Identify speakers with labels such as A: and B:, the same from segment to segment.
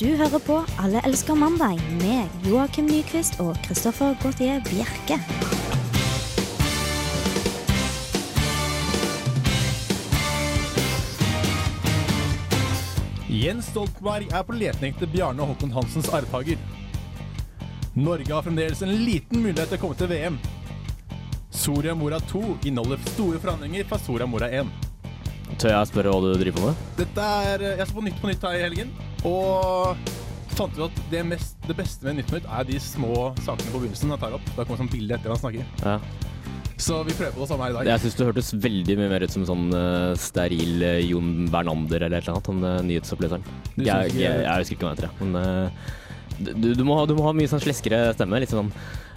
A: Du hører på Alle elsker mandag med Joakim Nyquist og Christoffer Gautier Bjerke.
B: Jens Stoltenberg er på leting etter Bjarne Håkon Hansens arvtaker. Norge har fremdeles en liten mulighet til å komme til VM. Soria Mora 2 inneholder store forandringer fra Soria Mora 1.
C: Tør jeg spørre hva du driver på med?
B: Dette er eh, Jeg så på Nytt på Nytt her i helgen, og fant ut at det, mest, det beste med Nytt på Nytt er de små sakene på begynnelsen han tar opp. Da kommer det sånn bilde etter han snakker.
C: Ja.
B: Så vi prøver på det samme her i dag.
C: Jeg syns du hørtes veldig mye mer ut som sånn eh, steril eh, Jon Bernander eller et eller annet, han uh, nyhetsoppleseren.
B: Du
C: Jeg,
B: synes
C: jeg,
B: ikke-
C: jeg, husker ikke hva han heter, jeg. men eh, du, du, må ha, du må ha mye sånn sleskere stemme. Litt sånn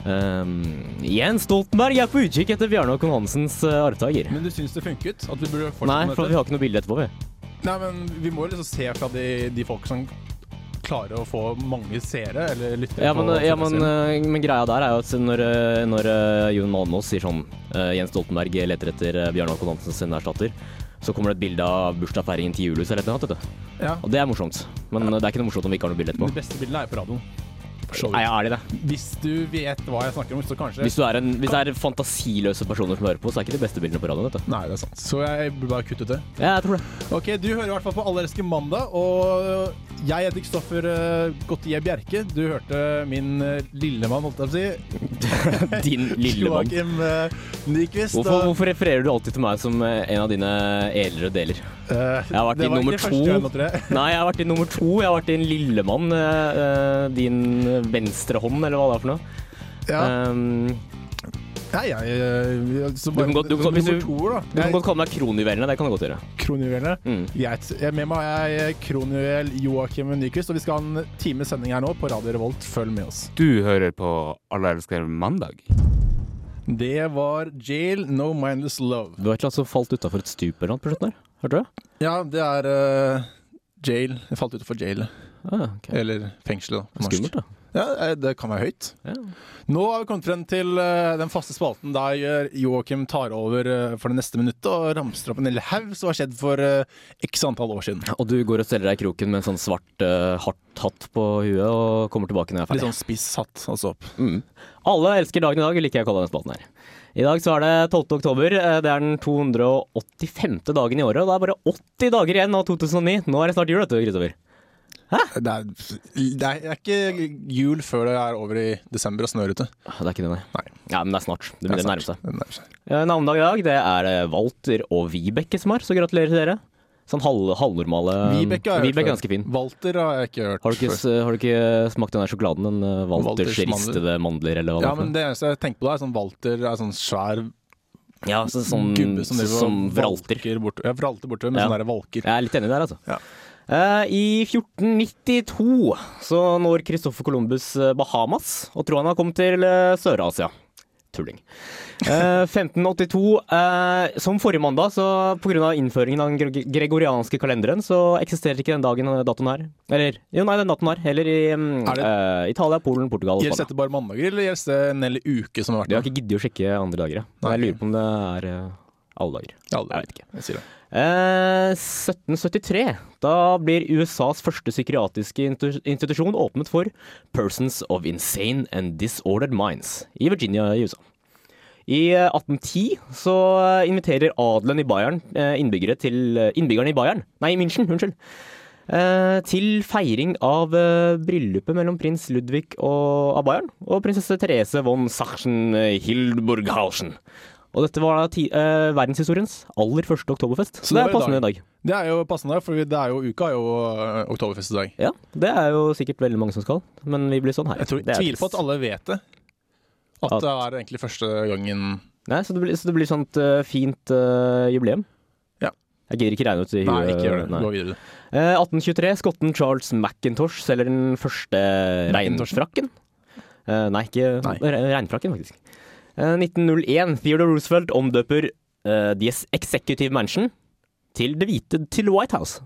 C: eh, Jens Stoltenberg er på utkikk etter Bjarne Håkon Hansens uh, arvtaker.
B: Men du syns det funket? At vi burde
C: Nei,
B: fortsette med
C: for vi
B: dette?
C: har ikke noe bilde etterpå, vi.
B: Nei, men vi må jo liksom se fra de, de folk som klarer å få mange seere eller lyttere
C: Ja, men,
B: på
C: ja, men,
B: TV-serien.
C: eh, men greia der er jo at når, eh, når eh, Jon Malmås sier sånn eh, Jens Stoltenberg leter etter eh, Bjarne Håkon Hansens erstatter, så kommer det et bilde av bursdagsfeiringen til Julius eller et eller annet, vet du.
B: ja.
C: Og det er morsomt. Men det er ikke noe morsomt om vi ikke har noe bilde etterpå.
B: De beste bildene er på radioen.
C: Nei, ja, er det det?
B: Hvis du vet hva jeg snakker om, så kanskje
C: Hvis, du er en, hvis det er fantasiløse personer som hører på, så er ikke de beste bildene på radioen. vet du.
B: Nei, det er sant. Så jeg burde bare kutte ut det.
C: Ja, jeg tror det.
B: Ok, Du hører i hvert fall på Alle elsker mandag, og jeg heter Kristoffer eh, Gautier Bjerke. Du hørte min eh, lillemann, holdt jeg på å si.
C: Din lille mann.
B: Joakim eh, Nyquist.
C: Hvorfor,
B: og-
C: hvorfor refererer du alltid til meg som eh, en av dine edlere deler?
B: Eh,
C: Jeg har vært
B: det
C: i
B: var
C: nummer
B: ikke
C: to.
B: første gang nå, tror jeg.
C: Nei, jeg har vært din nummer to. Jeg har vært din lillemann. eh, eh, Din venstre hånd, eller hva det er for noe.
B: Ja,
C: Um,
B: nei, jeg, eh, så bare,
C: kan godt- du kan godt- hvis
B: nummer
C: du-
B: to, da.
C: du kan
B: Jeg-
C: godt kalle meg kronjuvelene. Det kan jeg godt gjøre.
B: Kronjuvelene.
C: Mm.
B: Greit. Jeg- Med meg er jeg kronjuvel Joakim Nyquist, og vi skal ha en times sending her nå på Radio Revolt. Følg med oss.
D: Du hører på Alle elsker mandag.
B: Det var Jail, No Mindless Love.
C: Du var et eller annet som falt utafor et stup eller noe på slutten der? Hørte du?
B: Ja, det er eh, jail. Jeg falt utenfor jail.
C: Ah, ok.
B: Eller fengsel, da. på norsk.
C: Skummelt, da.
B: Ja, eh, det kan være høyt.
C: Ja.
B: Nå har vi kommet frem til eh, den faste spalten der eh, Joakim tar over eh, for det neste minuttet og ramser opp en hel haug som har skjedd for eh, x antall år siden.
C: Og du går og steller deg i kroken med en sånn svart eh, hardt hatt på huet og kommer tilbake når jeg er
B: Litt
C: ferdig.
B: sånn spiss hatt, altså opp.
C: Mm. Alle elsker dagen i dag, liker jeg å kalle denne spalten her. I dag så er det 12. oktober. eh, Det er den 285. dagen i året, og det er bare 80 dager igjen av 2009. Nå er det snart jul, vet du, Kristoffer.
B: Det er, det er ikke jul før det er over i desember og snør ute.
C: Det er ikke det, nei.
B: Nei.
C: Ja, men det er snart. Det begynner å nærme seg.
B: Det nærmer seg.
C: Eh, Navnedag i dag, det er eh, Walter og Vibeke som har, så gratulerer til dere. Sånn halv, halvnormale
B: Vibeke har jeg hørt
C: Vibeke
B: før.
C: er ganske fin.
B: Walter har jeg ikke hørt
C: Har du ikke,
B: før.
C: s- har du ikke smakt den der sjokoladen? Den eh, Walters,
B: Walters mandel.
C: ristede mandler, eller hva
B: Ja,
C: det er? for
B: men det eneste jeg tenker på da, er sånn Walter er sånn svær
C: noe? Ja, så, sånn,
B: gubbe som, driver og
C: som vralter.
B: valker bortover. Ja, vralter bortover, men
C: Ja.
B: sånn derre valker.
C: Jeg er litt enig der, altså.
B: Ja.
C: Eh, I 1492 så når Christopher Columbus eh, Bahamas og tror han har kommet til eh, Sør-Asia. Tulling. Eh, 1582, eh, som forrige mandag, så pga. innføringen av den gre- gregorianske kalenderen, så eksisterer ikke den dagen eh, datoen her. Eller jo, nei, den datoen her. Heller i mm,
B: Er det-
C: eh, Italia, Polen, Portugal og
B: Gjelder
C: Spania.
B: dette bare mandager, eller gjelder det en hel uke som har vært
C: Vi har ikke giddet å sjekke andre dager, jeg.
B: Nei,
C: jeg
B: ok.
C: lurer på om det er eh, alle dager.
B: Ja, det-
C: Jeg vet ikke.
B: Jeg sier det.
C: Eh, 1773. Da blir USAs første psykiatriske intu- institusjon åpnet for Persons of Insane and Disordered Minds i Virginia i USA. I eh, 1810 så eh, inviterer adelen i Bayern eh, innbyggere til eh, Innbyggerne i Bayern, nei, i München, unnskyld. eh, Til feiring av eh, bryllupet mellom prins Ludvig og, av Bayern og prinsesse Therese von Sachsen-Hildburghausen. Og dette var da ti, eh, verdenshistoriens aller første oktoberfest.
B: Så
C: Så det er
B: det var i
C: passende i dag.
B: Det er jo passende, for det er jo, uka er jo øh, oktoberfest i dag.
C: Ja, det er jo sikkert veldig mange som skal, men vi blir sånn her.
B: Jeg tror,
C: Det er
B: tviler på
C: trist.
B: at alle vet det. At
C: At-
B: det er egentlig første gangen
C: Nei, så det blir, så det blir sånt eh, fint eh, jubileum.
B: Ja.
C: Jeg gidder ikke regne ut i
B: Nei,
C: huet-
B: ikke gjør det.
C: nei.
B: Gå videre.
C: Eh, 1823, skotten Charles McIntosh selger den første
B: Macintoshen?
C: regnfrakken. Eh, nei, ikke
B: Nei.
C: re- regnfrakken, faktisk. Eh, 1901, Theodore Roosevelt omdøper eh, The Executive Mansion til Det hvite til White House.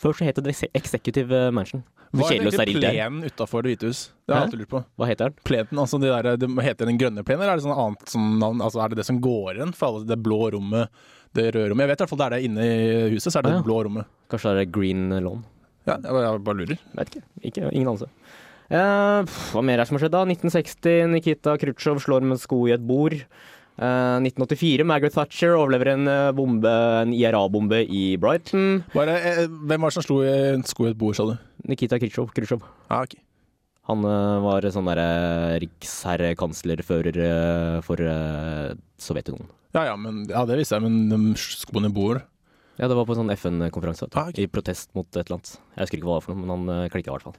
C: Før så het det The Executive Mansion.
B: Hva er
C: Kjedelig og
B: egentlig
C: sterilt der.
B: plenen utafor Det hvite hus? Det har jeg
C: Hæ?
B: alltid lurt på.
C: Hva heter den?
B: Plenen, altså de der, det Heter den grønne plenen, eller er det sånn annet som navn? Altså Er det det som går igjen for alle det blå rommet, det røde rommet? Jeg vet i hvert fall det er det inne i huset, så er det
C: Ah, ja.
B: det blå rommet.
C: Kanskje det er Green Lawn.
B: Ja, jeg bare, jeg bare lurer.
C: Vet ikke. ikke ingen anelse. Eh, pff, hva mer er det som har skjedd, da? 1960. Nikita Khrusjtsjov slår med sko i et bord. Eh, 1984. Margaret Thatcher overlever en eh, bombe, en IRA-bombe i Brighton.
B: Bare, eh, hvem var det som slo eh, en sko i et bord, sa du?
C: Nikita Khrusjtsjov. Khrusjtsjov.
B: Ah, ok.
C: Han eh, var sånn derre riksherrekanslerfører eh, for eh, Sovjetunionen.
B: Ja ja, men, ja, det visste jeg, men de skoene i bord
C: Ja, det var på en sånn FN-konferanse, vet du.
B: Ah, ok.
C: I protest mot et eller annet. Jeg husker ikke hva det var for noe, men han klikka i hvert fall.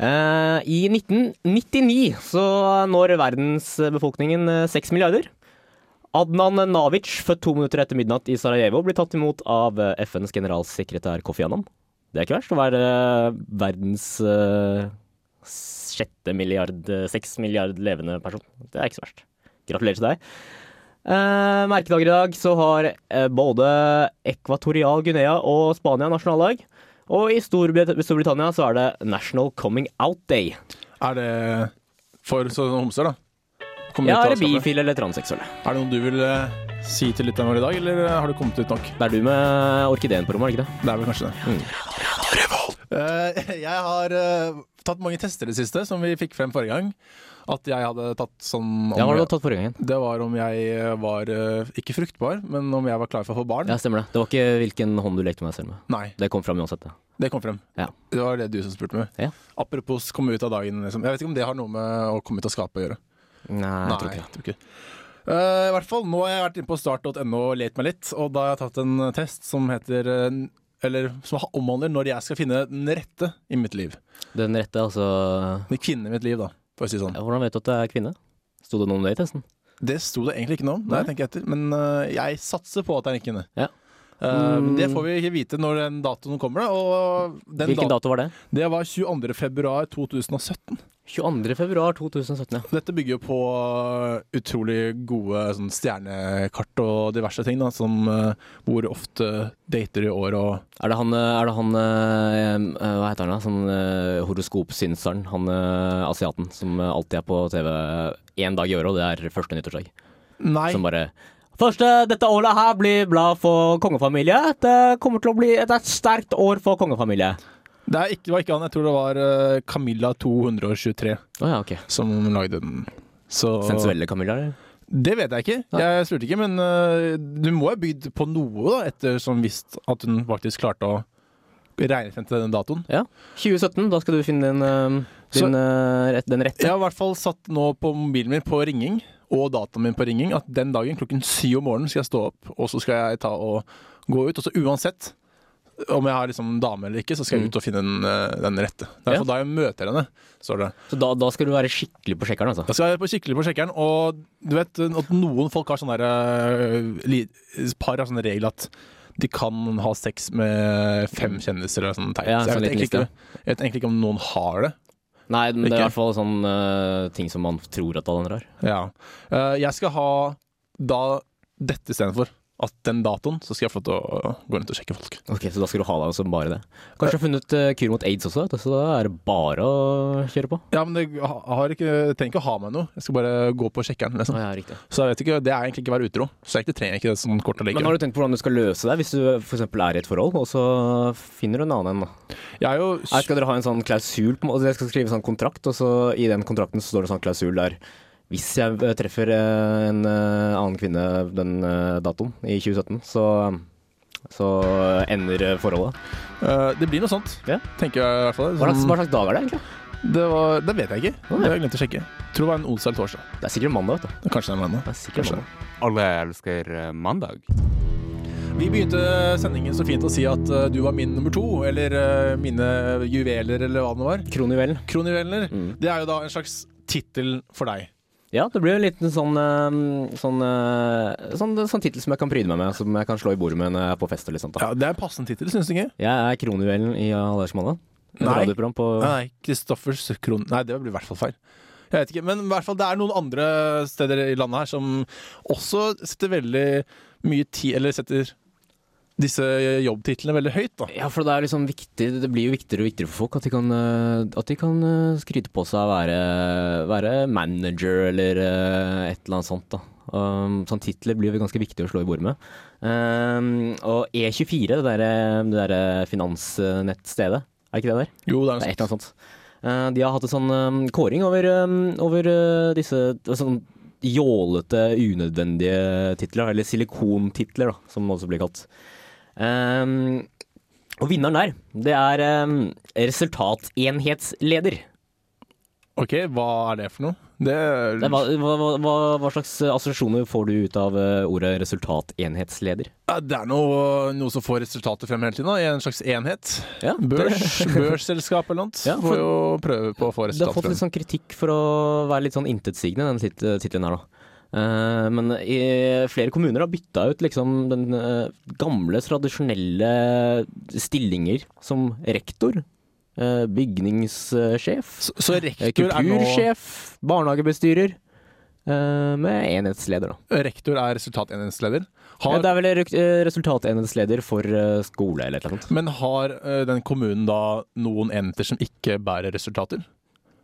C: Eh, I 1999 så når verdensbefolkningen eh, 6 milliarder. Adnan Navic, født to minutter etter midnatt i Sarajevo, blir tatt imot av eh, FNs generalsekretær Kofi Annan. Det er ikke verst å være eh, verdens eh, sjette milliard, eh, seks milliard levende person. Det er ikke så verst. Gratulerer til deg. Eh, merkedager i dag så har eh, både Ekvatorial Guinea og Spania nasjonaldag. Og i Storbrit Storbritannia så er det National Coming Out Day.
B: Er det for sånne homser, da? Kommer
C: Ja,
B: ut av
C: er det
B: skapet.
C: bifile eller transseksuelle?
B: Er det noe du vil eh, si til lytterne våre i dag, eller eh, har du kommet ut nok?
C: Det er du med orkideen på rommet, er det ikke det?
B: Det er vel kanskje det.
C: Mm.
B: Eh, jeg har eh, tatt mange tester i det siste, som vi fikk frem forrige gang. At jeg hadde tatt sånn om
C: Ja, hva har du
B: jeg,
C: tatt forrige gangen?
B: Det var om jeg eh, var eh, ikke fruktbar, men om jeg var klar for å få barn.
C: Ja, stemmer det. Det var ikke hvilken hånd du lekte med deg selv med.
B: Nei,
C: Det kom fram uansett, det.
B: det kom frem.
C: Ja.
B: Det var det du som spurte meg.
C: Ja.
B: Apropos komme ut av dagen. Liksom. Jeg vet ikke om det har noe med å komme ut av skapet å gjøre.
C: Nei, jeg tror ikke det.
B: jeg tror ikke det. Eh, I hvert fall, nå har jeg vært inne på start.no og let meg litt, og da har jeg tatt en test som heter eh, eller som omhandler når jeg skal finne den rette i mitt liv.
C: Den rette, altså
B: Den kvinnen i mitt liv, da, for å si det sånn.
C: ja, Hvordan vet du at det er kvinne? Sto det noe om det i testen?
B: Det sto det egentlig ikke noe om, når jeg tenker etter, men øh, jeg satser på at det er en kvinne.
C: Ja.
B: Øh, men det
C: Mm.
B: får vi ikke vite når den datoen kommer. Da. Og den
C: Hvilken
B: dat-
C: dato var det?
B: Det var 22. februar 2017.
C: 22. februar 2017, ja.
B: Dette bygger jo på øh, utrolig gode sånn, stjernekart og diverse ting, da, som øh, hvor ofte dater i år og
C: Er det han, eh, er det han eh, eh, Hva heter han da? Sånn eh, horoskopsynseren. Han eh, asiaten som eh, alltid er på TV én dag i året, og det er første nyttårsdag.
B: Nei,
C: Som bare Første dette året her blir bra for kongefamilie. Det kommer til å bli et, et sterkt år for kongefamilie.
B: det, er ikke, det var ikke han. Jeg tror det var øh, Camilla 223
C: Å ja, ok.
B: som lagde den. Så-
C: Sensuelle Camilla, eller?
B: Det vet jeg ikke.
C: Nei.
B: Jeg spurte ikke, men øh, du må ha bydd på noe, da, ettersom visst at hun faktisk klarte å regne frem til den datoen.
C: Ja. 2017, da skal du finne din, eh, din, eh, rett, den rette.
B: Jeg har i hvert fall satt nå på mobilen min på ringing, og dataen min på ringing, at den dagen klokken syv om morgenen skal jeg stå opp, og så skal jeg ta og gå ut. Og så uansett om jeg har liksom en dame eller ikke, så skal jeg ut og finne den, øh, den rette. Det er
C: Mm. Ja.
B: for da jeg møter henne, står det.
C: Så da, da skal du være skikkelig på sjekkeren, altså.
B: Da skal jeg på skikkelig på sjekkeren, og du vet at noen folk har sånne der, øh, li- par har sånne regler at de kan ha sex med fem kjendiser eller sånn teit.
C: Ja,
B: Så jeg,
C: sånn
B: vet
C: liten
B: egentlig ikke, jeg vet egentlig ikke om noen har det.
C: Nei, men det er i
B: Ikke.
C: hvert fall sånn eh, ting som man tror at alle andre har.
B: Ja. Eh, Jeg skal ha da dette istedenfor. At den datoen, så skal jeg få lov til å gå rundt og sjekke folk.
C: Ok, Så da skal du ha deg som bare det. Kanskje du har funnet eh, kur mot aids også, vet du, så da er det bare å kjøre på.
B: Ja, men det ha- har ikke, jeg trenger ikke å ha med noe. Jeg skal bare gå på sjekkeren.
C: Å,
B: Liksom.
C: ja, riktig.
B: Så jeg vet ikke, det er egentlig ikke å være utro. Så jeg egentlig trenger ikke det sånn kort og
C: Men
B: like.
C: har du tenkt på hvordan du skal løse det, hvis du f.eks. er i et forhold, og så finner du en annen en? da?
B: Jeg er jo
C: Her skal dere ha en sånn klausul, på en måte, dere skal skrive en sånn kontrakt, og så i den kontrakten så står det en sånn klausul der hvis jeg eh, treffer eh, en eh, annen kvinne den eh, datoen i 2017, så, så ender eh, forholdet.
B: eh, Det blir noe sånt,
C: Ja.
B: tenker jeg i hvert fall.
C: Hva slags,
B: Sånn-
C: hva slags dag er det egentlig?
B: Det, var, det vet jeg ikke.
C: Nei.
B: Det har jeg glemt å sjekke. Tror det var en onsdag eller torsdag.
C: Det er sikkert mandag, vet du.
B: Kanskje det er en mandag.
C: Det er sikkert
B: Kanskje.
C: mandag.
D: Alle elsker eh, mandag.
B: Vi begynte sendingen så fint å si at eh, du var min nummer to, eller eh, mine juveler, eller hva det nå var.
C: Kronjuvelen.
B: Kronjuveler.
C: Mm.
B: Det er jo da en slags tittel for deg.
C: Ja, det blir jo en liten sånn eh, Sånn, eh, sånn, sånn tittel som jeg kan pryde meg med, som jeg kan slå i bordet med når jeg er på fest og litt sånt. da.
B: Ja, Det er en passende tittel, syns du ikke?
C: Jeg er kronjuvelen i Halvdagsmandag. Et
B: Nei.
C: radioprogram på
B: Nei, Kristoffers kron... Nei, det blir i hvert fall feil. Jeg vet ikke, Men i hvert fall det er noen andre steder i landet her som også setter veldig mye tid Eller setter disse jobbtitlene veldig høyt, da.
C: Ja, for det er liksom viktig Det blir jo viktigere og viktigere for folk at de kan, eh, at de kan eh, skryte på seg å være, være manager eller eh, et eller annet sånt, da. Um, sånn titler blir jo ganske viktig å slå i bordet med. E Um, og E24, det derre det derre finansnettstedet, Er ikke det der?
B: Jo, det
C: Det er
B: er
C: et eller annet sånt. Eh, de har hatt en sånn eh, kåring over, eh, over eh, disse eh, sånn jålete, unødvendige titler, eller silikontitler, da, som det også blir kalt. Eh, og vinneren der, det er eh, resultatenhetsleder.
B: Ok, hva er det for noe? Det er,
C: Det er, hva, hva, hva, hva slags eh, assosiasjoner får du ut av eh, ordet resultatenhetsleder?
B: Ja, det er noe, noe som får resultatet frem hele tiden, da, i en slags enhet.
C: Ja,
B: Børs, børsselskap eller noe.
C: Ja, for-
B: får jo prøve på å få
C: Det har
B: resultatet
C: fått
B: frem.
C: litt sånn kritikk for å være litt sånn intetsigende, den tit- tittelen her, da. Eh, men i flere kommuner har bytta ut liksom den eh, gamle, tradisjonelle stillinger som rektor, eh, bygningssjef,
B: Så, så
C: eh,
B: rektor er nå
C: kultursjef, barnehagebestyrer. eh, Med enhetsleder, da.
B: Rektor er resultatenhetsleder. Har,
C: Ja, det er vel rek- eh, resultatenhetsleder for eh, skole eller et eller annet.
B: Men har eh, den kommunen da noen enheter som ikke bærer resultater?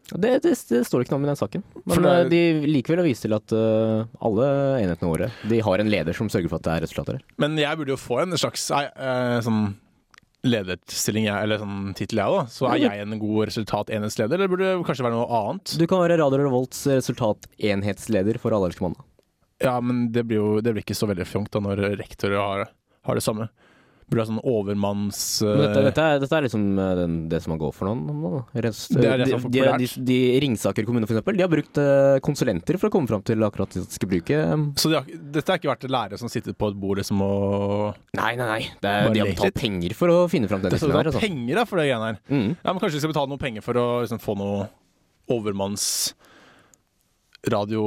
C: Det, det, det står ikke noe om i den saken.
B: For
C: Men
B: det er-
C: eh, de likevel har vist til at eh, alle enhetene våre De har en leder som sørger for at det er resultater.
B: Men jeg burde jo få en slags eh, eh, sånn lederstilling, jeg, eller sånn tittel jeg òg. Så er jeg en god resultatenhetsleder, eller burde det kanskje være noe annet?
C: Du kan være Radio Revolts resultatenhetsleder for Allerskmannen.
B: Ja, men det blir jo det blir ikke så veldig fjongt da når rektorer har, har det samme. Burde ha sånn overmanns... eh,
C: Men dette, dette, er, dette er liksom eh, den, det som man går for nå. nå da. Rest,
B: Det er det
C: de,
B: som er
C: de, de,
B: populært.
C: de Ringsaker kommune, for eksempel, de har brukt eh, konsulenter for å komme fram til akkurat det de skal bruke. eh,
B: Så det har, ikke- dette har ikke vært lærere som sitter på et bord liksom og
C: Nei, nei, nei. Det er,
B: Bare
C: de har
B: lek
C: betalt penger for å finne fram den
B: Det skal
C: tittelen her.
B: betale
C: Altså.
B: penger da, for det greiene her.
C: Mm.
B: Ja, men Kanskje vi skal betale noen penger for å liksom, få noe overmanns radio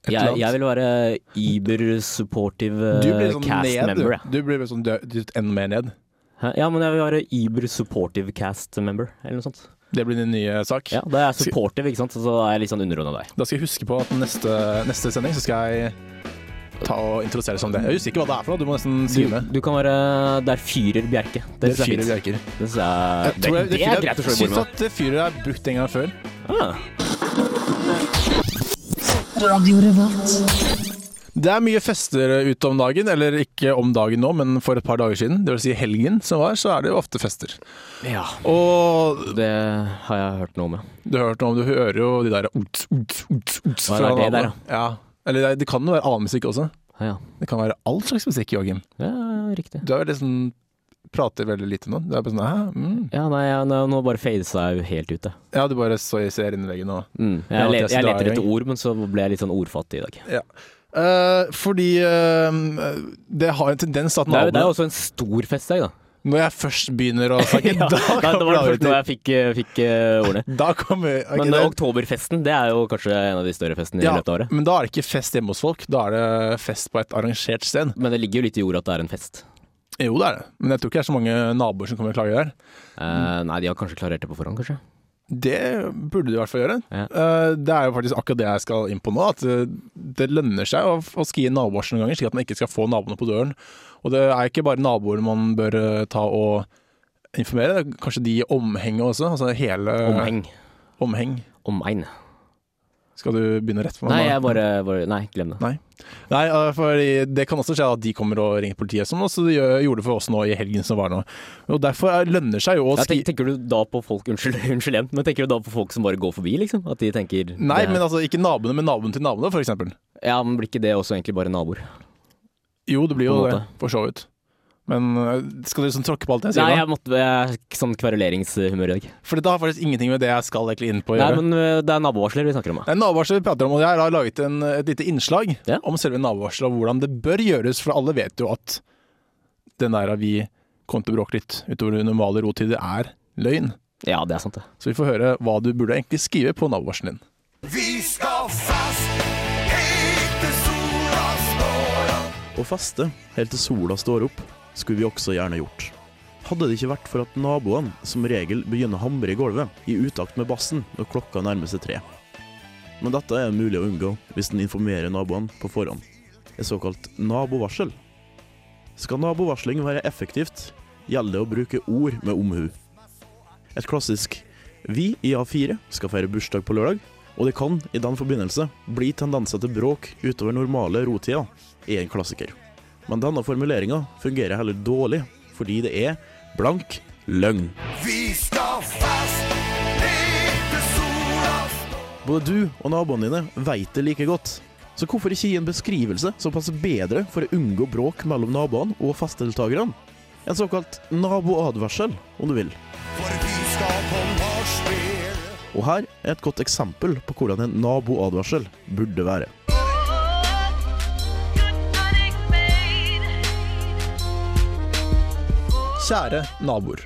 B: et eller
C: Jeg,
B: annet.
C: jeg vil være Uber-supportive
B: du
C: eh,
B: blir sånn
C: cast
B: ned,
C: member. jeg.
B: du. Du blir sånn dø- dytt enda mer ned.
C: Hæ? Ja, men jeg vil være Uber supportive cast member, eller noe sånt.
B: Det blir din nye sak.
C: Ja, Da er jeg supportive, ikke sant, så da er jeg litt sånn underordna deg.
B: Da skal jeg huske på at neste, neste sending så skal jeg ta og introdusere som det. Jeg husker ikke hva det er for noe, du må nesten
C: Du,
B: si det.
C: du kan være Det er Fyrer Bjerke. Det
B: Det
C: synes jeg
B: fyret
C: er fint.
B: bjerker.
C: Det synes jeg- det-
B: Tror jeg-
C: det er
B: fyret-
C: greit å slå i
B: Syns
C: bordet med.
B: at det fyret er brukt en gang før.
C: Ah.
B: Det er mye fester ute om dagen, eller ikke om dagen nå, men for et par dager siden. Det vil si helgen som var, så er det jo ofte fester.
C: Ja,
B: Og
C: det har jeg hørt noe med.
B: Du har hørt noe om det, du hører jo de der uts, uts, uts, uts
C: Ja, det er
B: fra
C: det der,
B: navnet. ja. Eller det, det kan jo være annen musikk også.
C: Ah, Ja, ja.
B: Det kan være all slags musikk, Joakim.
C: ja riktig.
B: Du er veldig sånn Prater veldig lite nå. Du er bare sånn Hæ? Mm.
C: Ja, nei, ja, nå nå bare fades jeg jo helt ut, jeg.
B: Ja, du bare så ser innveggen og
C: Mm.
B: Ja,
C: Jeg, le-
B: Tess,
C: jeg
B: du er
C: leter
B: jo
C: etter ord, men så ble jeg litt sånn ordfattig i dag.
B: Ja. Eh, fordi eh, det har en tendens at
C: Det er jo, det er
B: naboene
C: jo også en stor festdag, da.
B: Når jeg først begynner å snakke, da
C: Ja, da, det
B: kommer
C: var
B: det
C: det første
B: avbrytning.
C: jeg fikk, eh, fikk eh, ordene.
B: Da kommer ok,
C: Men
B: det-
C: eh, oktoberfesten det er jo kanskje en av de større festene
B: ja,
C: i løpet av året.
B: Men da er det ikke fest hjemme hos folk, da er det fest på et arrangert sted.
C: Men det ligger jo litt i jorda at det er en fest.
B: Jo, det er det, men jeg tror ikke det er så mange naboer som kommer og klager der.
C: Eh, nei, de har kanskje klarert det på forhånd, kanskje.
B: Det burde du i hvert fall gjøre.
C: Ja.
B: Eh, Det er jo faktisk akkurat det jeg skal inn på nå. At eh, det lønner seg å, å skie nabovarsel noen ganger, slik at man ikke skal få naboene på døren. Og det er ikke bare naboer man bør eh, ta og informere, det er kanskje de i omhenget også. Altså hele
C: Omheng.
B: omheng.
C: Omegn.
B: Skal du begynne rett på meg?
C: Nei,
B: nå?
C: jeg bare, bare Nei, glem det.
B: Nei, eh, for det kan også skje at de kommer og ringer politiet, som også de gjør- gjorde det for oss nå i helgen som var nå. Og derfor er- lønner seg jo å
C: Ja,
B: skie...
C: tenk, tenker du da på folk Unnskyld, unnskyld igjen, men tenker du da på folk som bare går forbi, liksom? At de tenker
B: Nei,
C: det her-
B: men altså ikke naboene, men naboen til naboene, for eksempel.
C: Ja, men blir ikke det også egentlig bare naboer?
B: Jo, det blir
C: På
B: jo
C: en
B: det, for så vidt. Men øh, skal du liksom tråkke på alt jeg sier
C: Nei,
B: nå?
C: jeg måtte jeg er sånn kveruleringshumør i dag.
B: For dette har faktisk ingenting med det jeg skal egentlig inn på å
C: Nei,
B: gjøre.
C: men eh, det er nabovarsler vi snakker om. da.
B: Det er nabovarsel vi prater om, og jeg har laget en, et lite innslag
C: Ja.
B: om selve nabovarselet og hvordan det bør gjøres, for alle vet jo at den der vi kom til å bråke litt utover normale rotider, er løgn.
C: Ja, det er sant, det.
B: Så vi får høre hva du burde egentlig skrive på nabovarselen din.
E: Vi skal fast helt til sola står opp.
F: Å feste helt til sola står opp, skulle vi også gjerne gjort. Hadde det ikke vært for at naboene som regel begynner å hamre i gulvet i utakt med bassen når klokka nærmer seg tre. Men dette er mulig å unngå hvis en informerer naboene på forhånd. Et såkalt nabovarsel. Skal nabovarsling være effektivt, gjelder det å bruke ord med omhu. Et klassisk 'Vi i A4 skal feire bursdag på lørdag', og det kan i den forbindelse bli tendenser til bråk utover normale rotider er en klassiker. Men denne formuleringa fungerer heller dårlig, fordi det er blank løgn.
E: Vi skal fast etter sola står
F: Både du og naboene dine veit det like godt. Så hvorfor ikke gi en beskrivelse som passer bedre for å unngå bråk mellom naboene og festdeltakerne? En såkalt naboadvarsel, om du vil.
E: For vi skal på nachspiel
F: Og her er et godt eksempel på hvordan en naboadvarsel burde være.
B: Kjære naboer.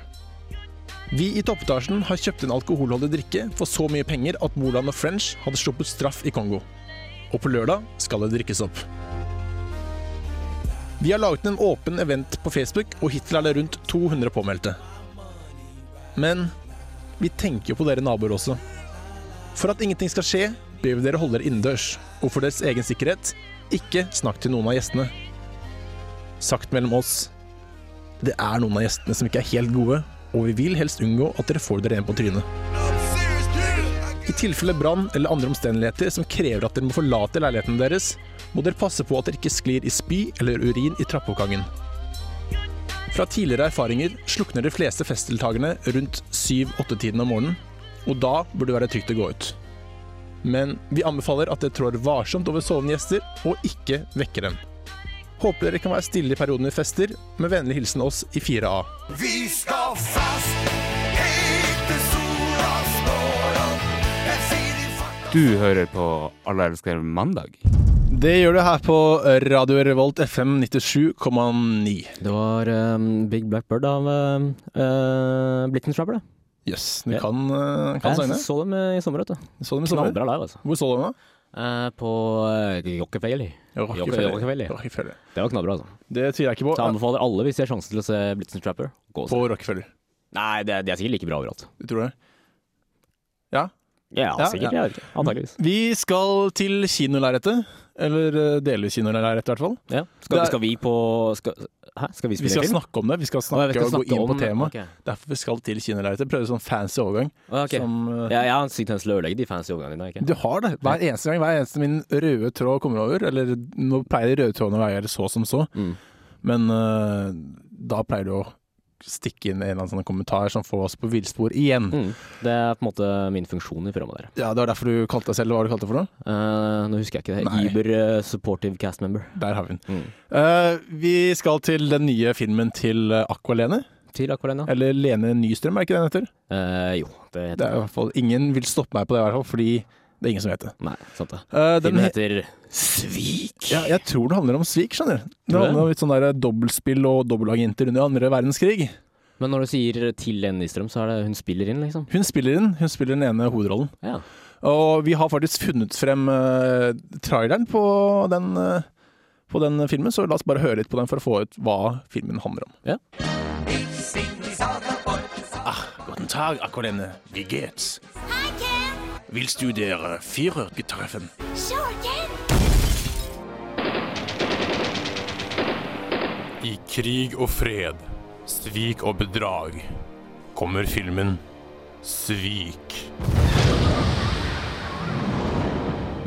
B: Vi i toppetasjen har kjøpt en alkoholholdig drikke for så mye penger at Moland og French hadde sluppet straff i Kongo. Og på lørdag skal det drikkes opp. Vi har laget en åpen event på Facebook, og hittil er det rundt 200 påmeldte. Men vi tenker jo på dere naboer også. For at ingenting skal skje, ber vi dere holde dere innendørs. Og for deres egen sikkerhet, ikke snakk til noen av gjestene. Sagt mellom oss det er noen av gjestene som ikke er helt gode, og vi vil helst unngå at dere får dere en på trynet.
E: Serious dude
B: I tilfelle brann eller andre omstendigheter som krever at dere må forlate leiligheten deres, må dere passe på at dere ikke sklir i spy eller urin i trappeoppgangen. Fra tidligere erfaringer slukner de fleste festdeltakerne rundt 7-8-tiden om morgenen, og da burde det være trygt å gå ut. Men vi anbefaler at dere trår varsomt over sovende gjester, og ikke vekker dem. Håper dere kan være stille i perioden vi fester, med vennlig hilsen oss i 4A.
E: Vi skal fast etter sola står opp En sidig fart
D: Du hører på Alle elsker mandag.
B: Det gjør du her på Radio Revolt FM 97,9.
C: Det var ehm, Big Black Bird av um, uh, Blittenstrapper, det.
B: Yes, du
C: Ja.
B: kan, eh, kan
C: Jeg
B: sangene.
C: så dem eh, i sommer, vet du.
B: Så dem i sommer.
C: Knallbra live, altså.
B: Hvor så du dem, da?
C: Eh, på eh, Rockefeller. Rockefeller.
B: Rockefeller.
C: Det var knallbra, altså.
B: Det tviler jeg ikke
C: Så jeg
B: på.
C: anbefaler alle, hvis de har sjansen til å se Blitzenstrapper, gå og se.
B: eh, På Rockefeller,
C: Nei, det, de er sikkert like bra overalt.
B: du tror det?
C: Ja,
B: Ja, ja.
C: sikkert. Jeg vet ikke. Antakeligvis.
B: Vi skal til kinolerretet. Eller eh, delvis kinolerretet, i hvert fall.
C: Ja.
B: Det
C: Skal,
B: er-
C: skal vi på skal, Hæ, skal vi
B: Vi
C: spille
B: skal
C: film?
B: snakke om det. Vi skal
C: Å,
B: snakke
C: jeg skal
B: og gå inn på
C: om-
B: temaet.
C: ok.
B: Derfor vi skal til kinolerretet. Prøve sånn fancy overgang.
C: Å, ok.
B: Som, eh,
C: Ja, jeg har en syk tendens til å ødelegge de fancy overgangene dine. ikke?
B: Du har det. Hver eneste gang hver eneste min røde tråd kommer over. Eller nå pleier de røde trådene å være så som så,
C: Mm.
B: men eh, da pleier du å stikke inn en eller annen sånn kommentar som får oss på villspor igjen.
C: Mm. Det er på en måte min funksjon i programmet der.
B: Ja, Det var derfor du kalte deg selv hva var det du kalte det for noe?
C: Eh, nå husker jeg ikke det.
B: Nei.
C: Iber eh, supportive cast member.
B: Der har vi den.
C: Mm.
B: Eh, vi skal til den nye filmen til eh, Aqua-Lene.
C: Til Aqualena.
B: Eller Lene Nystrøm, er ikke det den heter?
C: Eh, jo, det
B: Det
C: heter
B: er i hvert fall, ingen vil stoppe meg på det, i hvert fall, fordi det er ingen som vet det.
C: Nei, sant det.
B: Eh, den
C: Filmen
B: he-
C: heter Svik.
B: Ja, jeg tror det handler om svik, skjønner du. Det
C: Tror du det?
B: handler om litt sånn der dobbeltspill og dobbeltagenter under andre verdenskrig.
C: Men når du sier til Lene Nystrøm, så er det hun spiller inn, liksom?
B: Hun spiller inn, hun spiller den ene hovedrollen.
C: Ja.
B: Og vi har faktisk funnet frem eh, traileren på den, eh, på den filmen, så la oss bare høre litt på den for å få ut hva filmen handler om.
C: Ja.
B: Ah, guten Tag, Akkolene. Wie geht's?
G: Hi, Ken.
B: Willst du der Viererke treffen?
G: Sure, Ken.
H: I krig og fred, svik og bedrag, kommer filmen Svik.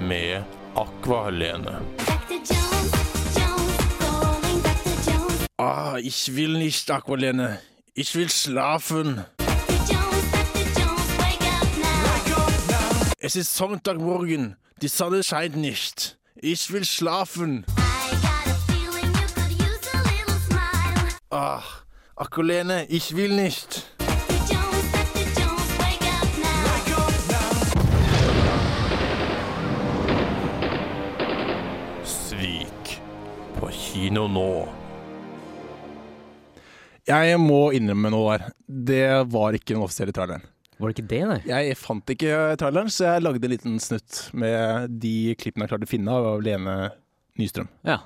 H: Med Aqua Helene.
G: Dr. Jones, Jones, calling Dr. Jones.
B: Ah, ich will nicht, Akkolene. Ich will schlafen.
G: Dr. Jones, Dr. Jones, wake up now.
B: Es ist Sonntagmorgen. Die Sonne scheint nicht. Ich will schlafen.
G: I got a feeling you could use a little smile.
B: Ach, Akkolene, Ah, ich will nicht.
G: Dr. Jones, Dr. Jones, wake up now.
H: Svik. På kino nå.
B: Jeg må innrømme noe der. Det var ikke den offisielle traileren.
C: Var det ikke det, nei?
B: Jeg fant ikke traileren, så jeg lagde en liten snutt med de klippene jeg klarte å finne av Lene Nystrøm.
C: Ja.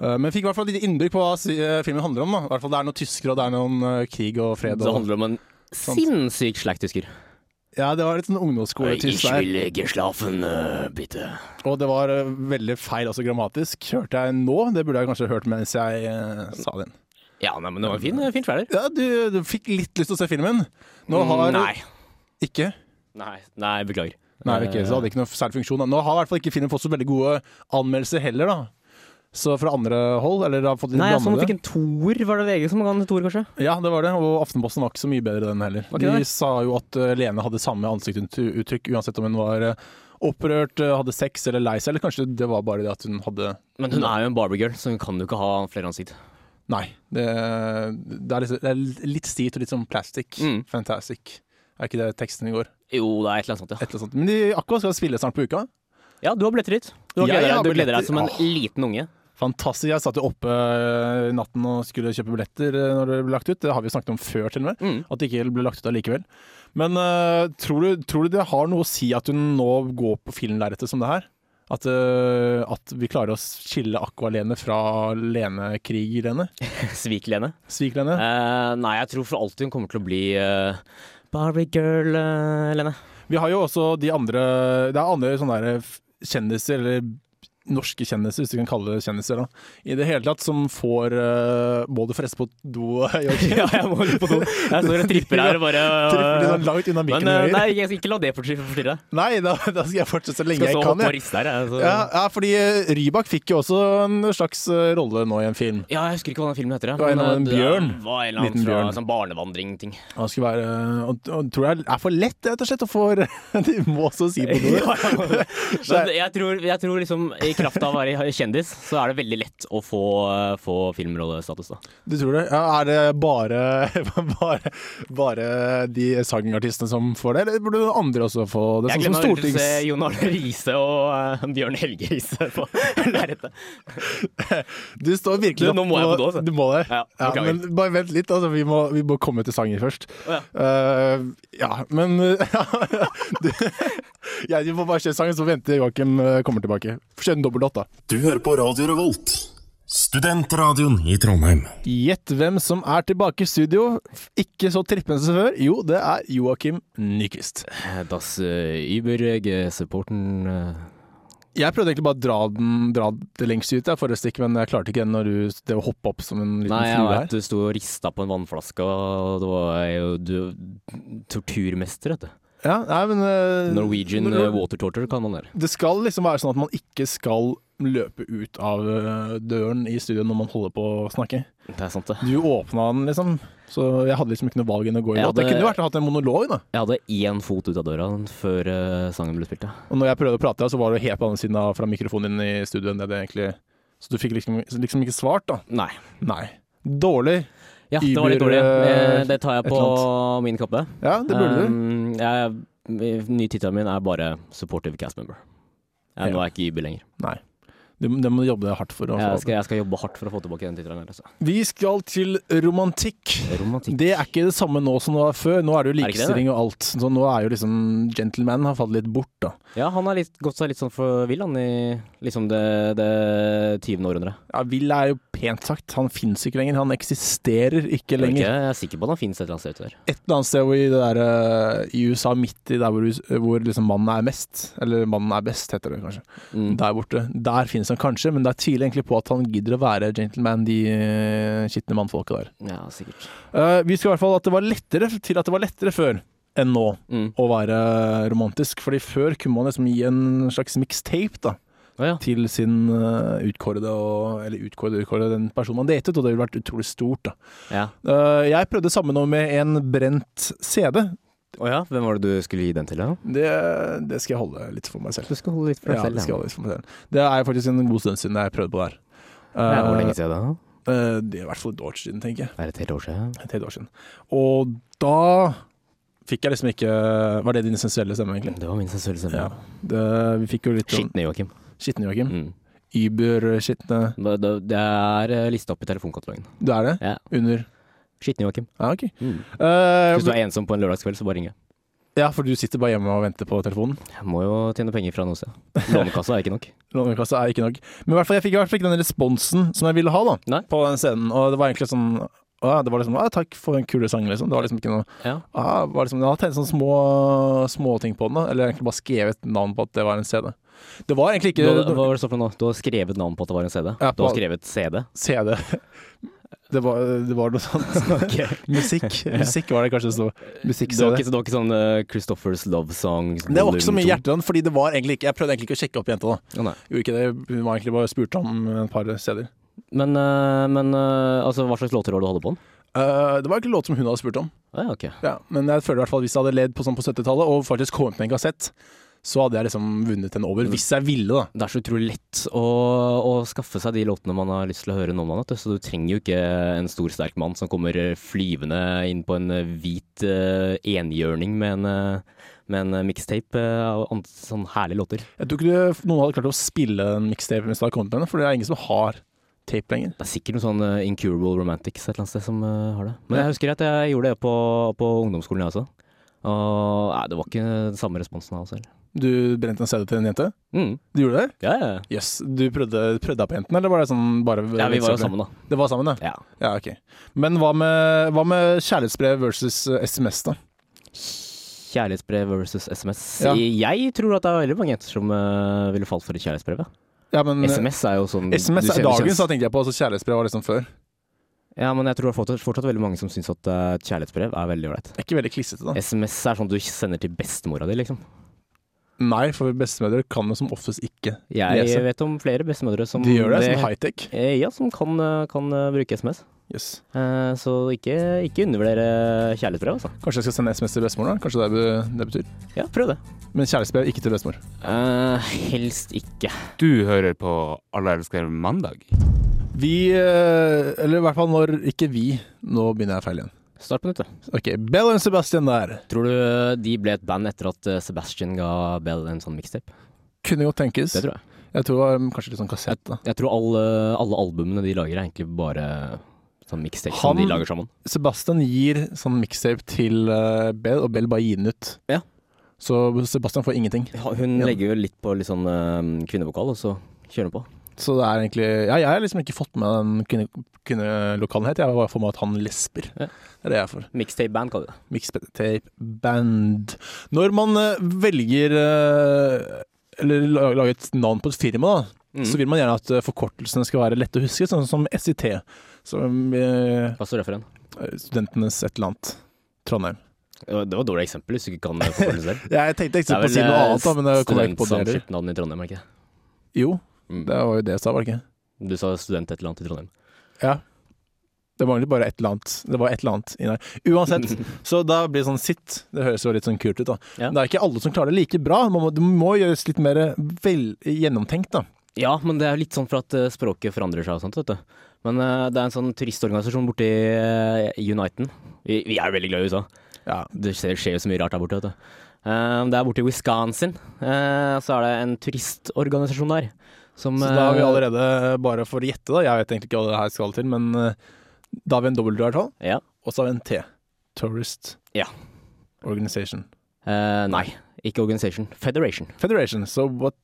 B: Eh, Men fikk i hvert fall litt innblikk på hva si- eh, filmen handler om. Da. I hvert fall Det er noen tyskere, og det er noen eh, krig og fred.
C: Det
B: Og...
C: handler om en
B: Sånn.
C: sinnssyk slekttysker.
B: Ja, det var litt sånn ungdomsskoletysk der.
C: legge slafen, eh, bitte.
B: Og det var eh, veldig feil, altså grammatisk, hørte jeg nå. Det burde jeg kanskje hørt mens jeg eh, sa den.
C: Ja, nei, men det var en fin, fin trailer.
B: Ja, du, du fikk litt lyst til å se filmen. Nå har
C: Mm, Nei.
B: Ikke?
C: Nei, nei, beklager.
B: Nei, ikke, så hadde det ikke noe særlig funksjon. Da. Nå har i hvert fall ikke filmen fått så veldig gode anmeldelser heller, da. Så fra andre hold, eller har fått inn
C: Nei, jeg så
B: blandede.
C: han fikk en toer. Var det VG som ga han en toer, kanskje?
B: Ja, det var det, og Aftenposten var ikke så mye bedre den heller.
C: Var ikke
B: De
C: det?
B: sa jo at eh, Lene hadde samme ansiktsuttrykk uansett om hun var eh, opprørt, eh, hadde sex eller lei seg, eller kanskje det var bare det at hun hadde
C: Men hun er jo en Barbie-girl, så hun kan jo ikke ha flere ansikt.
B: Nei. Det, det, er, liksom, det er litt stivt og litt sånn plastic.
C: Mm.
B: Fantastic. Er ikke det teksten i går?
C: Jo, det er et eller annet sånt, ja.
B: Et eller annet sånt. Men de, Aqua skal spille snart på uka.
C: Ja, du har billetter dit. Du, har
B: Jeg
C: gleder,
B: har
C: deg, du gleder
B: billetter.
C: deg som en liten unge.
B: Fantastisk. Jeg satt jo oppe eh, i natten og skulle kjøpe billetter eh, når det ble lagt ut. Det har vi jo snakket om før, til og med.
C: Mm.
B: At det ikke ble lagt ut allikevel. Men eh, tror, du, tror du det har noe å si at hun nå går på filmlerretet som det her? At, eh, at vi klarer å skille Aqua-Lene fra Lene-Krig-Lene?
C: Svik Lene.
B: Svik-Lene?
C: Eh, nei, jeg tror for alltid hun kommer til å bli eh, Barbie-girl, eh, Lene.
B: Vi har jo også de andre Det er andre sånne der f- kjendiser, eller norske kjendiser, hvis du kan kalle det kjendiser, da. I det hele tatt, som får eh, Må du fresse på do, Joakim?
C: ja, jeg må holde på do. Jeg står og tripper her og bare
B: Treffer litt sånn langt unna
C: Men
B: mikken.
C: eh,
B: høyre.
C: nei, jeg skal ikke la det fortrykke- forstyrre.
B: Nei, da, da skal jeg fortsette så lenge
C: Skal
B: jeg
C: stå
B: kan.
C: opp og
B: Jeg.
C: riste her. jeg, så-
B: Ja, ja, fordi eh, Rybak fikk jo også en slags eh, rolle nå i en film.
C: Ja, jeg husker ikke hva den filmen heter. ja.
B: Det var en
C: Men,
B: av en
C: eh, det
B: bjørn.
C: Var en eller annen
B: Liten
C: fra
B: bjørn.
C: sånn barnevandring-ting.
B: Han skulle være eh, og, og tror jeg er for lett, rett og slett, og for De må også si på det.
C: Men jeg tror, jeg tror liksom i kraft av å være kjendis, så er det veldig lett å få, eh, få filmrollestatus, da.
B: Du tror det? Ja, er det bare, bare, bare de sangartistene som får det, eller burde andre også få det? Sånn
C: Jeg
B: som
C: glemmer aldri til å
B: stortings...
C: se Jon Arne Riise og eh, Bjørn Helge Riise på lerretet.
B: Du står virkelig
C: Du, nå må jeg på do, altså.
B: Du må det.
C: Ja, beklager.
B: men bare vent litt, altså. Vi må, vi må komme til sanger først.
C: Å, ja.
B: Eh, ja, men du, ja, Vi må bare kjøre sangen, så venter Joakim eh, kommer tilbake. Få kjøre en dobbeltlåt, da.
I: Du hører på Radio Revolt, studentradioen i Trondheim.
B: Gjett hvem som er tilbake i studio. Ikke så trippende som før. Jo, det er Joakim Nyquist.
C: Das eh, Überrege-supporten
B: Jeg prøvde egentlig bare å dra, den, dra det lengst ut, jeg, forrige stikk, men jeg klarte ikke det når du det å hoppe opp som en liten
C: Nei, jeg
B: flue sånn her.
C: vet du sto og rista på en vannflaske, og det var eh, jo du Torturmester, vet du.
B: Ja, nei, men, eh,
C: Norwegian
B: når-
C: eh, water torture kan man der.
B: Det skal liksom være sånn at man ikke skal løpe ut av eh, døren i studio når man holder på å snakke.
C: Det er sant, det.
B: Du åpna den, liksom. Så jeg hadde liksom ikke noe valg enn å gå i
C: Ja,
B: låt. Det
C: det-
B: kunne jo vært å hatt en monolog, da.
C: Jeg hadde én fot ut av døra før eh, sangen ble spilt, ja.
B: Og når jeg prøvde å prate, så var det helt på andre siden av fra mikrofonen din i studio enn det det egentlig Så du fikk liksom, liksom ikke svart, da.
C: Nei.
B: Nei. Dårlig.
C: Ja, det var litt
B: Uber,
C: dårlig. Eh,
B: eh,
C: Det tar
B: et
C: jeg på
B: eller
C: min kappe.
B: Ja, det burde du.
C: Um, jeg, ny tittelen min er bare 'supportive cast member'. Jeg, Nå er jeg ikke Uber lenger.
B: Nei. Det, det må du jobbe hardt for. å få
C: Jeg skal, jeg skal jobbe hardt for å få tilbake den tittelen. her, Altså.
B: Vi skal til romantikk.
C: Romantikk.
B: Det er ikke det samme nå som det var før. Nå er det jo
C: Er det ikke det,
B: likestilling og alt. Så nå er jo liksom gentleman har falt litt bort, da.
C: Ja, han har litt, gått seg litt sånn for vill, han, i liksom det, det 20. århundret.
B: Ja, Will er jo pent sagt. Han fins ikke lenger. Han eksisterer ikke
C: Jeg,
B: lenger.
C: jeg er sikker på at han finnes et eller annet sted ute der.
B: Et eller annet sted hvor i, det der, eh, i USA, midt i der hvor, us- hvor liksom mannen er mest, eller mannen er best, heter det kanskje.
C: Mm.
B: Der borte. Der finnes han kanskje, men det er tviler egentlig på at han gidder å være gentleman, de eh, skitne mannfolka der.
C: Ja, sikkert.
B: Eh, vi skal i hvert fall at det var lettere, til at det var lettere før enn nå
C: Mm.
B: å være romantisk. Fordi før kunne man liksom gi en slags mixtape da,
C: Å ja.
B: til sin eh, utkårede, og, eller utkårede, utkårede, den personen man datet, og det ville vært utrolig stort. da.
C: Ja.
B: Eh, jeg prøvde samme nå med en brent CD.
C: Å ja, hvem var det du skulle gi den til? da?
B: Det, det skal jeg holde litt for meg selv.
C: Du skal holde litt for
B: Ja,
C: deg
B: det, skal jeg
C: selv.
B: holde litt for meg selv. det er faktisk en god stund siden jeg prøvde på det her.
C: Ja. Det er hvor
B: Eh,
C: lenge siden da?
B: eh, det er i hvert fall et år siden, tenker jeg.
C: Er det et helt år siden?
B: Et helt år siden. Og da fikk jeg liksom ikke Var det din essensielle stemme, egentlig?
C: Det var min sensuelle stemme.
B: Ja. Det, vi fikk jo litt om
C: Skitne Joakim.
B: skitne, Joakim.
C: Mm.
B: Uber-skitne.
C: Det, det, det er eh, lista opp i telefonkatalogen.
B: Du er det?
C: Ja.
B: Under
C: Skitne Joakim.
B: Ja, OK.
C: Mm.
B: Eh,
C: Hvis du er ensom på en lørdagskveld, så bare ringe.
B: ja, for du sitter bare hjemme og venter på telefonen?
C: Jeg må jo tjene penger fra noe sted. Lånekassa er ikke nok.
B: Lånekassa er ikke nok. Men i hvert fall, jeg fikk i hvert fall ikke den responsen som jeg ville ha da,
C: Nei.
B: på den scenen. Og det var egentlig sånn å, ja, det var liksom, ah, 'Takk for en kule sang', liksom. Det var liksom ikke noe
C: Ja.
B: ah, det var liksom, Jeg har tegnet sånne små, små ting på den, da. Eller egentlig bare skrevet navn på at det var en CD. Det var egentlig
C: Du,
B: ikke
C: hva var det så for noe nå? Du har skrevet navn på at det var en CD?
B: Ja,
C: Du har
B: på-
C: skrevet CD?
B: CD. Det var, det var noe sånt. Musikk Musikk var det kanskje det sto.
C: Det var
B: Musikk-CD.
C: ikke, det var ikke sånn eh, Christophers Love Song
B: Det var ikke så mye
C: volum to.
B: hjerteland, fordi det var egentlig ikke Jeg prøvde egentlig ikke å sjekke opp jenta. da
C: Å, nei.
B: Gjorde ikke det, Hun var egentlig bare spurt om et par steder.
C: Men, eh, men eh, altså, hva slags låter var det du holdt på med?
B: Eh, det var ikke låt som hun hadde spurt om.
C: Ah, ja, ok.
B: Ja, men jeg føler i hvert fall hvis jeg hadde ledd på sånn på 70-tallet og faktisk kommet med en kassett, så hadde jeg liksom vunnet henne over. Hvis jeg ville, da.
C: Det er så utrolig lett å, å skaffe seg de låtene man har lyst til å høre nå om dagen. vet du. Så du trenger jo ikke en stor, sterk mann som kommer eh, flyvende inn på en hvit eh, enhjørning med en, eh, med en mixtape eh, av an- sånn herlige låter.
B: Jeg tror ikke du, noen hadde klart å spille en mixtape hvis du hadde kommet med henne, for det er ingen som har tape lenger.
C: Det er sikkert noen sånn eh, Incurable Romantics et eller annet sted som eh, har det. Men jeg husker at jeg gjorde det på, på ungdomsskolen, jeg også. Og nei, det var ikke den samme responsen av oss heller.
B: Du brente en CD til en jente?
C: Mm.
B: Du gjorde det?
C: Ja, ja.
B: Jøss. Yes. Du prøvde, prøvde deg på jenten, eller var det sånn bare
C: ja, vi var jo sammen, da.
B: Det var sammen, ja.
C: Ja.
B: ja ok. Men hva med, hva med kjærlighetsbrev versus eh, SMS, da?
C: Kjærlighetsbrev versus SMS.
B: Ja.
C: Jeg tror at det er veldig mange jenter som eh, ville falt for et kjærlighetsbrev. ja.
B: Ja, men,
C: SMS er jo sånn
B: SMS
C: du
B: er
C: ser- du
B: dagens, da
C: kjenner-
B: tenkte jeg på. Altså, kjærlighetsbrev var liksom før.
C: Ja, men jeg tror det er fortsatt, fortsatt veldig mange som syns at eh, et kjærlighetsbrev er veldig ålreit.
B: Det er ikke veldig klissete, da.
C: SMS er sånn du sender til bestemora di, liksom.
B: Nei, for bestemødre kan jo som oftest ikke
C: Jeg
B: Lese.
C: vet om flere bestemødre som
B: De gjør det, sånn high-tech.
C: Eh, Ja, som kan, eh, kan eh, bruke SMS.
B: Yes.
C: Eh, så ikke, ikke undervurdere kjærlighetsbrev, altså.
B: Kanskje jeg skal sende SMS til bestemor, da? Kanskje det be- det betyr.
C: Ja, prøv det.
B: Men kjærlighetsbrev ikke til bestemor.
C: Eh, helst ikke.
D: Du hører på Alle elsker mandag.
B: Vi, eh, eller i hvert fall når ikke vi Nå begynner jeg feil igjen.
C: Start på nytt, du.
B: Ok, Bell and Sebastian der.
C: Tror du eh, de ble et band etter at eh, Sebastian ga Bell en sånn mixtape?
B: Kunne jo tenkes.
C: Det tror jeg.
B: Jeg tror det var mm, kanskje litt sånn kassett. da
C: Jeg tror alle, alle albumene de lager, er egentlig bare sånn mixtape som
B: Han-
C: de lager sammen.
B: Sebastian gir sånn mixtape til eh, Bell, og Bell bare gir den ut.
C: Ja.
B: Så Sebastian får ingenting.
C: Ja, Hun
B: Ja.
C: legger jo litt på litt sånn eh, kvinnevokal, og så kjører hun på.
B: Så det er egentlig Ja, jeg har liksom ikke fått med den kvinne, kvinnelokalen het. Jeg har bare fått med at han lesber.
C: Ja.
B: Det er det jeg får.
C: Mixtape-band, kaller de det.
B: Mixtape band. Når man eh, velger eh, eller la- lager et navn på et firma, da,
C: Mm.
B: så vil man gjerne at eh, forkortelsene skal være lette å huske, sånn som SIT. Som eh,
C: Hva står det for en?
B: Studentenes et eller annet. Trondheim.
C: Det var det var et dårlig eksempel, hvis du ikke kan eh, forholde deg selv.
B: Jeg tenkte ikke på å si noe
C: eh,
B: annet, da, men jeg kom jeg ikke på det heller.
C: studentsamskipnaden i Trondheim, er det ikke det?
B: Jo,
C: Mm.
B: det var jo det jeg sa, var det ikke?
C: Du sa student et eller annet i Trondheim.
B: Ja. Det manglet bare et eller annet. Det var et eller annet inni der. Uansett, så da blir det sånn sitt. Det høres jo litt sånn kult ut, da.
C: Ja.
B: Det er ikke alle som klarer det like bra. Man må, det må gjøres litt mer vel gjennomtenkt, da.
C: Ja, men det er jo litt sånn for at eh, språket forandrer seg og sånt, vet du. Men eh, det er en sånn turistorganisasjon borti uh, Uniten. Vi, vi er jo veldig glad i USA.
B: Ja.
C: Det skjer, skjer jo så mye rart der borte, vet du. Eh, det er borti Wisconsin. Eh, så er det en turistorganisasjon der. Som,
B: Så da har vi
C: eh,
B: allerede, bare for å gjette, da Jeg vet egentlig ikke hva det her skal til, men eh, da har vi en W i hvert fall,
C: Ja.
B: og så har vi en T. Tourist
C: Ja.
B: Organization.
C: Eh, nei, ikke organisation. Federation.
B: Federation, so what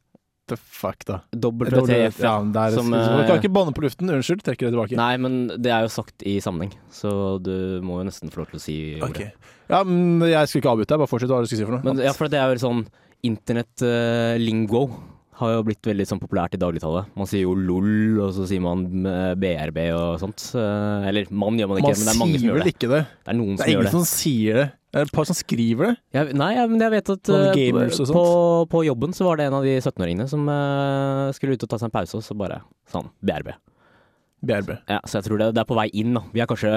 B: the fuck, da?
C: WTF.
B: ja, men der,
C: som,
B: så,
C: eh,
B: kan ikke banne på luften, unnskyld, trekker det tilbake.
C: Nei, men det er jo sagt i sammenheng, så du må jo nesten få lov til å si
B: Ok.
C: ordet.
B: Ja, men jeg skulle ikke avbryte deg, bare fortsett hva du skulle si for noe.
C: Men ja, for det er jo sånn internett-lingo har jo blitt veldig sånn populært i dagligtallet. Man sier jo LOL, og så sier man eh, BRB og sånt. Eh, Eller man gjør man ikke,
B: Man
C: men det er mange som
B: sier
C: gjør
B: vel
C: det.
B: ikke det?
C: Det er noen
B: Det
C: som
B: er
C: gjør
B: ingen
C: det.
B: som sier det. Det er et par som skriver det.
C: Jeg, nei, ja, men jeg vet at
B: Noen
C: eh,
B: gamers og sånt.
C: på, på jobben så var det en av de 17-åringene som eh, skulle ut og ta seg en pause, og så bare sånn BRB.
B: BRB.
C: Ja, så jeg tror det, det er på vei inn, da. Vi er kanskje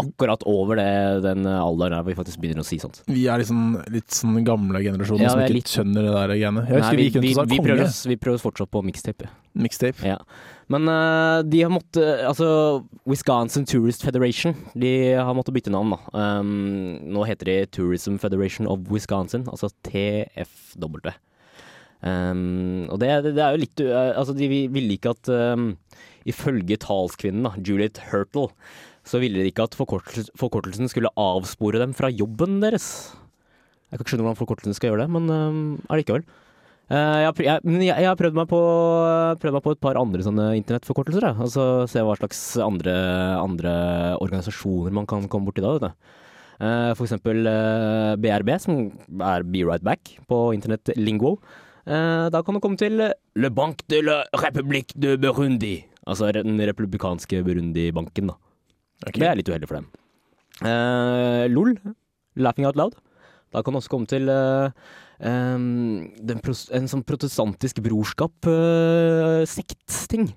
C: akkurat over det, den alderen her hvor vi faktisk begynner å si sånt.
B: Vi er liksom litt sånn gamle generasjoner
C: Ja,
B: som
C: vi er
B: ikke
C: litt-
B: skjønner det der greiene. Jeg husker
C: Nei,
B: vi gikk rundt og sa
C: vi, prøver
B: konge.
C: oss, vi prøver oss fortsatt på mixtape.
B: Mixtape.
C: Ja. Men eh, de har måttet Altså, Wisconsin Tourist Federation De har måttet bytte navn, da. Um, nå heter de Tourism Federation of Wisconsin, altså TFW. Um, og det, det er jo litt eh, Altså, de ville ikke at um, Ifølge talskvinnen, da, Juliet Hurtle, så ville de ikke at forkortels- forkortelsen skulle avspore dem fra jobben deres. Jeg kan ikke skjønne hvordan forkortelsen skal gjøre det, men um, allikevel. Eh, jeg, har pr- jeg, men jeg, jeg har prøvd meg, på, prøvd meg på et par andre sånne internettforkortelser. jeg. Altså, se hva slags andre, andre organisasjoner man kan komme borti da. vet du. Eh, for eksempel eh, BRB, som er Be Right Back på internett-lingo. Eh, da kan du komme til Le Banque de la République de Burundi. Altså den republikanske Burundi-banken, da.
B: Ok.
C: Det er litt uheldig for dem. Eh, LOL, Laughing Out Loud. Da kan du også komme til eh, em, den pros en sånn protestantisk eh, brorskap-sekt-ting. Eh,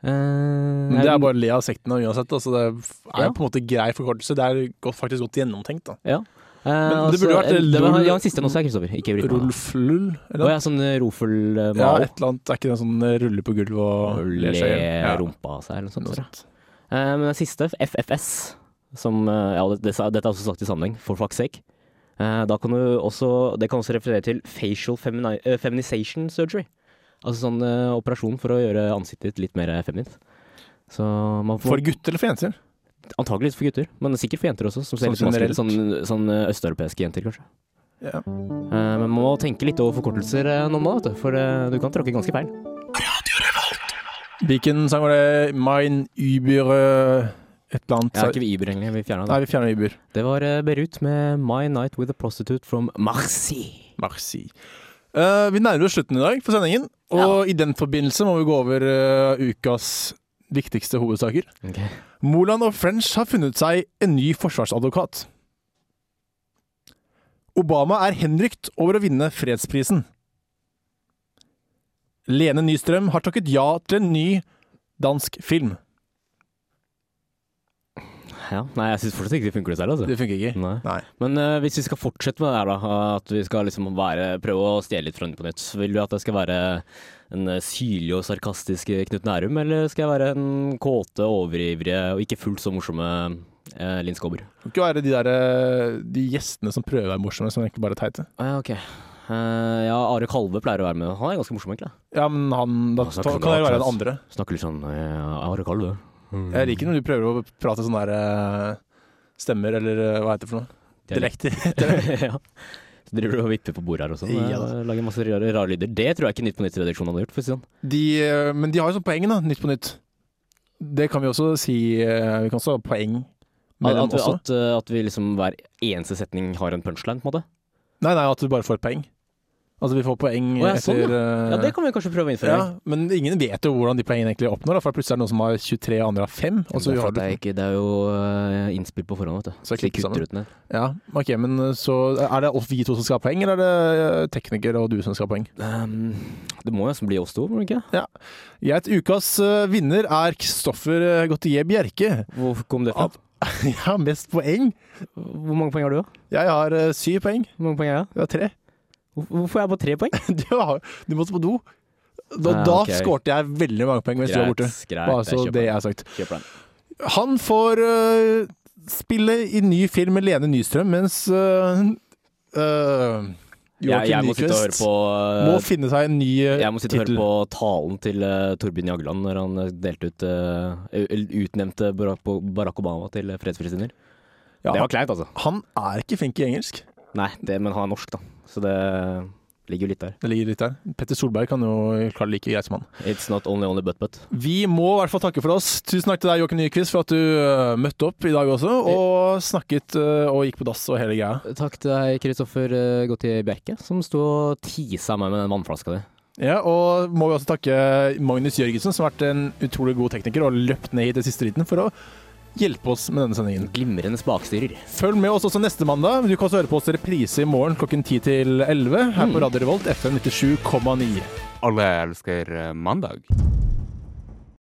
B: Men det er bare å le av sekten og uansett. Altså det er er
C: Ja.
B: jo på en måte grei forkortelse. Det er godt, faktisk godt gjennomtenkt. da.
C: Ja. Eh,
B: Men det
C: altså,
B: burde vært, eh,
C: en- det var,
B: LOL-
C: ja, en siste nå, så er Kristoffer. Ikke bryt meg.
B: Rolf Lull,
C: Å
B: eller?
C: ja, sånn eh, Rofel-mal.
B: Ja, et eller annet. Er ikke det sånn eh, rulle på gulvet og
C: le
B: le seg i hjel? Ja.
C: rumpa av seg, eller noe sånt.
B: Noe
C: tror jeg.
B: sånt.
C: Eh, Men den siste, FFS, som eh, Ja, det, det, dette er også sagt i sammenheng, for fuck's sake. Eh, Da kan du også Det kan også referere til facial femini eh, feminization surgery. Altså sånn eh, operasjon for å gjøre ansiktet ditt litt mer eh, feminint. Så man får
B: For gutter eller for jenter?
C: antakeligvis for gutter, men sikkert for jenter også. Som ser
B: Sånn
C: litt maskuline ut. Sånn,
B: generelt?
C: sånn eh, østeuropeiske jenter, kanskje.
B: Ja.
C: Eh, Men man må tenke litt over forkortelser eh, nå, vet du, for eh, du kan tråkke ganske feil.
B: Hvilken sang var det? Mein Uber eh, et eller annet?
C: Jeg har ikke Uber, egentlig. Vi fjerna
B: Nei,
C: det.
B: vi fjerner Uber.
C: Det var eh, Berut med 'My Night With A Prostitute From Marcy'.
B: Merci. Eh, vi nærmer oss slutten i dag for sendingen, og i den forbindelse må vi gå over eh, ukas viktigste hovedsaker. Moland og French har funnet seg en ny forsvarsadvokat. Obama er henrykt over å vinne fredsprisen. Lene Nystrøm har takket ja til en ny dansk film.
C: Ja, Nei, jeg syns fortsatt ikke det funker det selv, altså.
B: Det funker ikke.
C: Nei.
B: Nei.
C: Men eh, hvis vi skal fortsette med det her, da, at vi skal liksom være, prøve å stjele litt fra den på nytt, vil du at jeg skal være en eh, syrlig og sarkastisk eh, Knut Nærum, eller skal jeg være en kåte, overivrige og ikke fullt så morsomme eh, Linn Skåber?
B: Det kan ikke være de, der, eh, de gjestene som prøver å være morsomme, som egentlig bare er teite.
C: Ah, ja, ok. Eh, ja, Are Kalve pleier å være med. Han er ganske morsom, egentlig.
B: Ja, men han, da
C: Altså,
B: ta-
C: kunne
B: kan det
C: vært
B: være den
C: sånn.
B: andre.
C: Snakker litt sånn eh, Are Kalve.
B: Jeg liker når du prøver å prate sånn der eh, stemmer, eller eh, hva heter det for noe? Dialekter.
C: ja. Så driver du og vipper på bordet her også.
B: Ja da.
C: Eh, Lager masse rare, rare lyder. Det tror jeg ikke Nytt på Nytt-redaksjonen hadde gjort. For å si det sånn.
B: De, eh, men de har jo sånn poeng, da. Nytt på nytt. Det kan vi også si. eh, Vi kan også ha poeng
C: at,
B: mellom
C: at, vi,
B: også.
C: at, eh, at vi liksom hver eneste setning har en punchline, på en måte.
B: Nei, nei, at du bare får poeng. Altså vi får poeng
C: Å, ja, sånn,
B: etter
C: Ja,
B: eh,
C: det kan vi kanskje prøve å innføre.
B: ja, Men ingen vet jo hvordan de poengene egentlig oppnår, da, for plutselig er det noen som har 23, og andre har 5. Og så
C: det, er for
B: har
C: at det,
B: du
C: er ikke, det er jo eh, innspilt på forhånd, vet du.
B: Så
C: Så
B: jeg
C: vi
B: klipper sammen.
C: kutter ut den der.
B: Ja, ok, men eh, så er det oss- vi to som skal ha poeng, eller er det eh, tekniker og du som skal ha poeng?
C: Ehm, det må jo nesten bli oss to, må det ikke?
B: Greit, ukas eh, vinner er Kristoffer eh, Gautier Bjerke.
C: Hvor kom det fra?
B: Av- Jeg har mest poeng.
C: Hvor mange poeng har du, da?
B: Jeg har eh, syv poeng.
C: Hvor mange poeng har jeg?
B: Du har tre.
C: Hvor- Hvorfor er jeg på tre poeng?
B: Du, har, du måtte på do. Da,
C: Ah,
B: da
C: ok.
B: skårte jeg veldig mange poeng mens du var borte.
C: greit.
B: Bare så
C: jeg kjøper
B: det
C: den.
B: jeg har sagt.
C: Kjøper den.
B: Han får eh, spille i ny film med Lene Nystrøm, mens uh,
C: Jeg,
B: Joakim
C: jeg må sitte og høre
B: Nyquist
C: på eh,
B: må finne seg en ny eh,
C: Jeg må sitte og høre
B: tittel.
C: på talen til eh, Torbjørn Jagland når han eh, delte ut eh, eller utnevnte Barack, Barack Obama til fredsprisinner.
B: Ja,
C: Det var kleint, altså.
B: han er ikke flink i engelsk.
C: Nei, det, men han er norsk, da. Så det eh, ligger jo litt der.
B: Det ligger litt der. Petter Solberg kan jo klare det like greit som han.
C: It's not only only but but.
B: Vi må i hvert fall takke for oss. Tusen takk til deg, Joakim Nyquist, for at du eh, møtte opp i dag også, og snakket eh, og gikk på dass og hele greia.
C: Takk til deg, Kristoffer eh, Gautier Bjerke, som sto og tisa meg med den vannflaska di.
B: Ja, og må vi også takke Magnus Jørgensen, som har vært en utrolig god tekniker og løpt ned hit i siste liten for å hjelpe oss med denne sendingen.
C: Glimrende spakstyrer.
B: Følg med oss også neste mandag. Du kan også høre på oss i reprise i morgen klokken 10 til 11 her på Radio Revolt FM 97,9.
D: Alle elsker eh, mandag.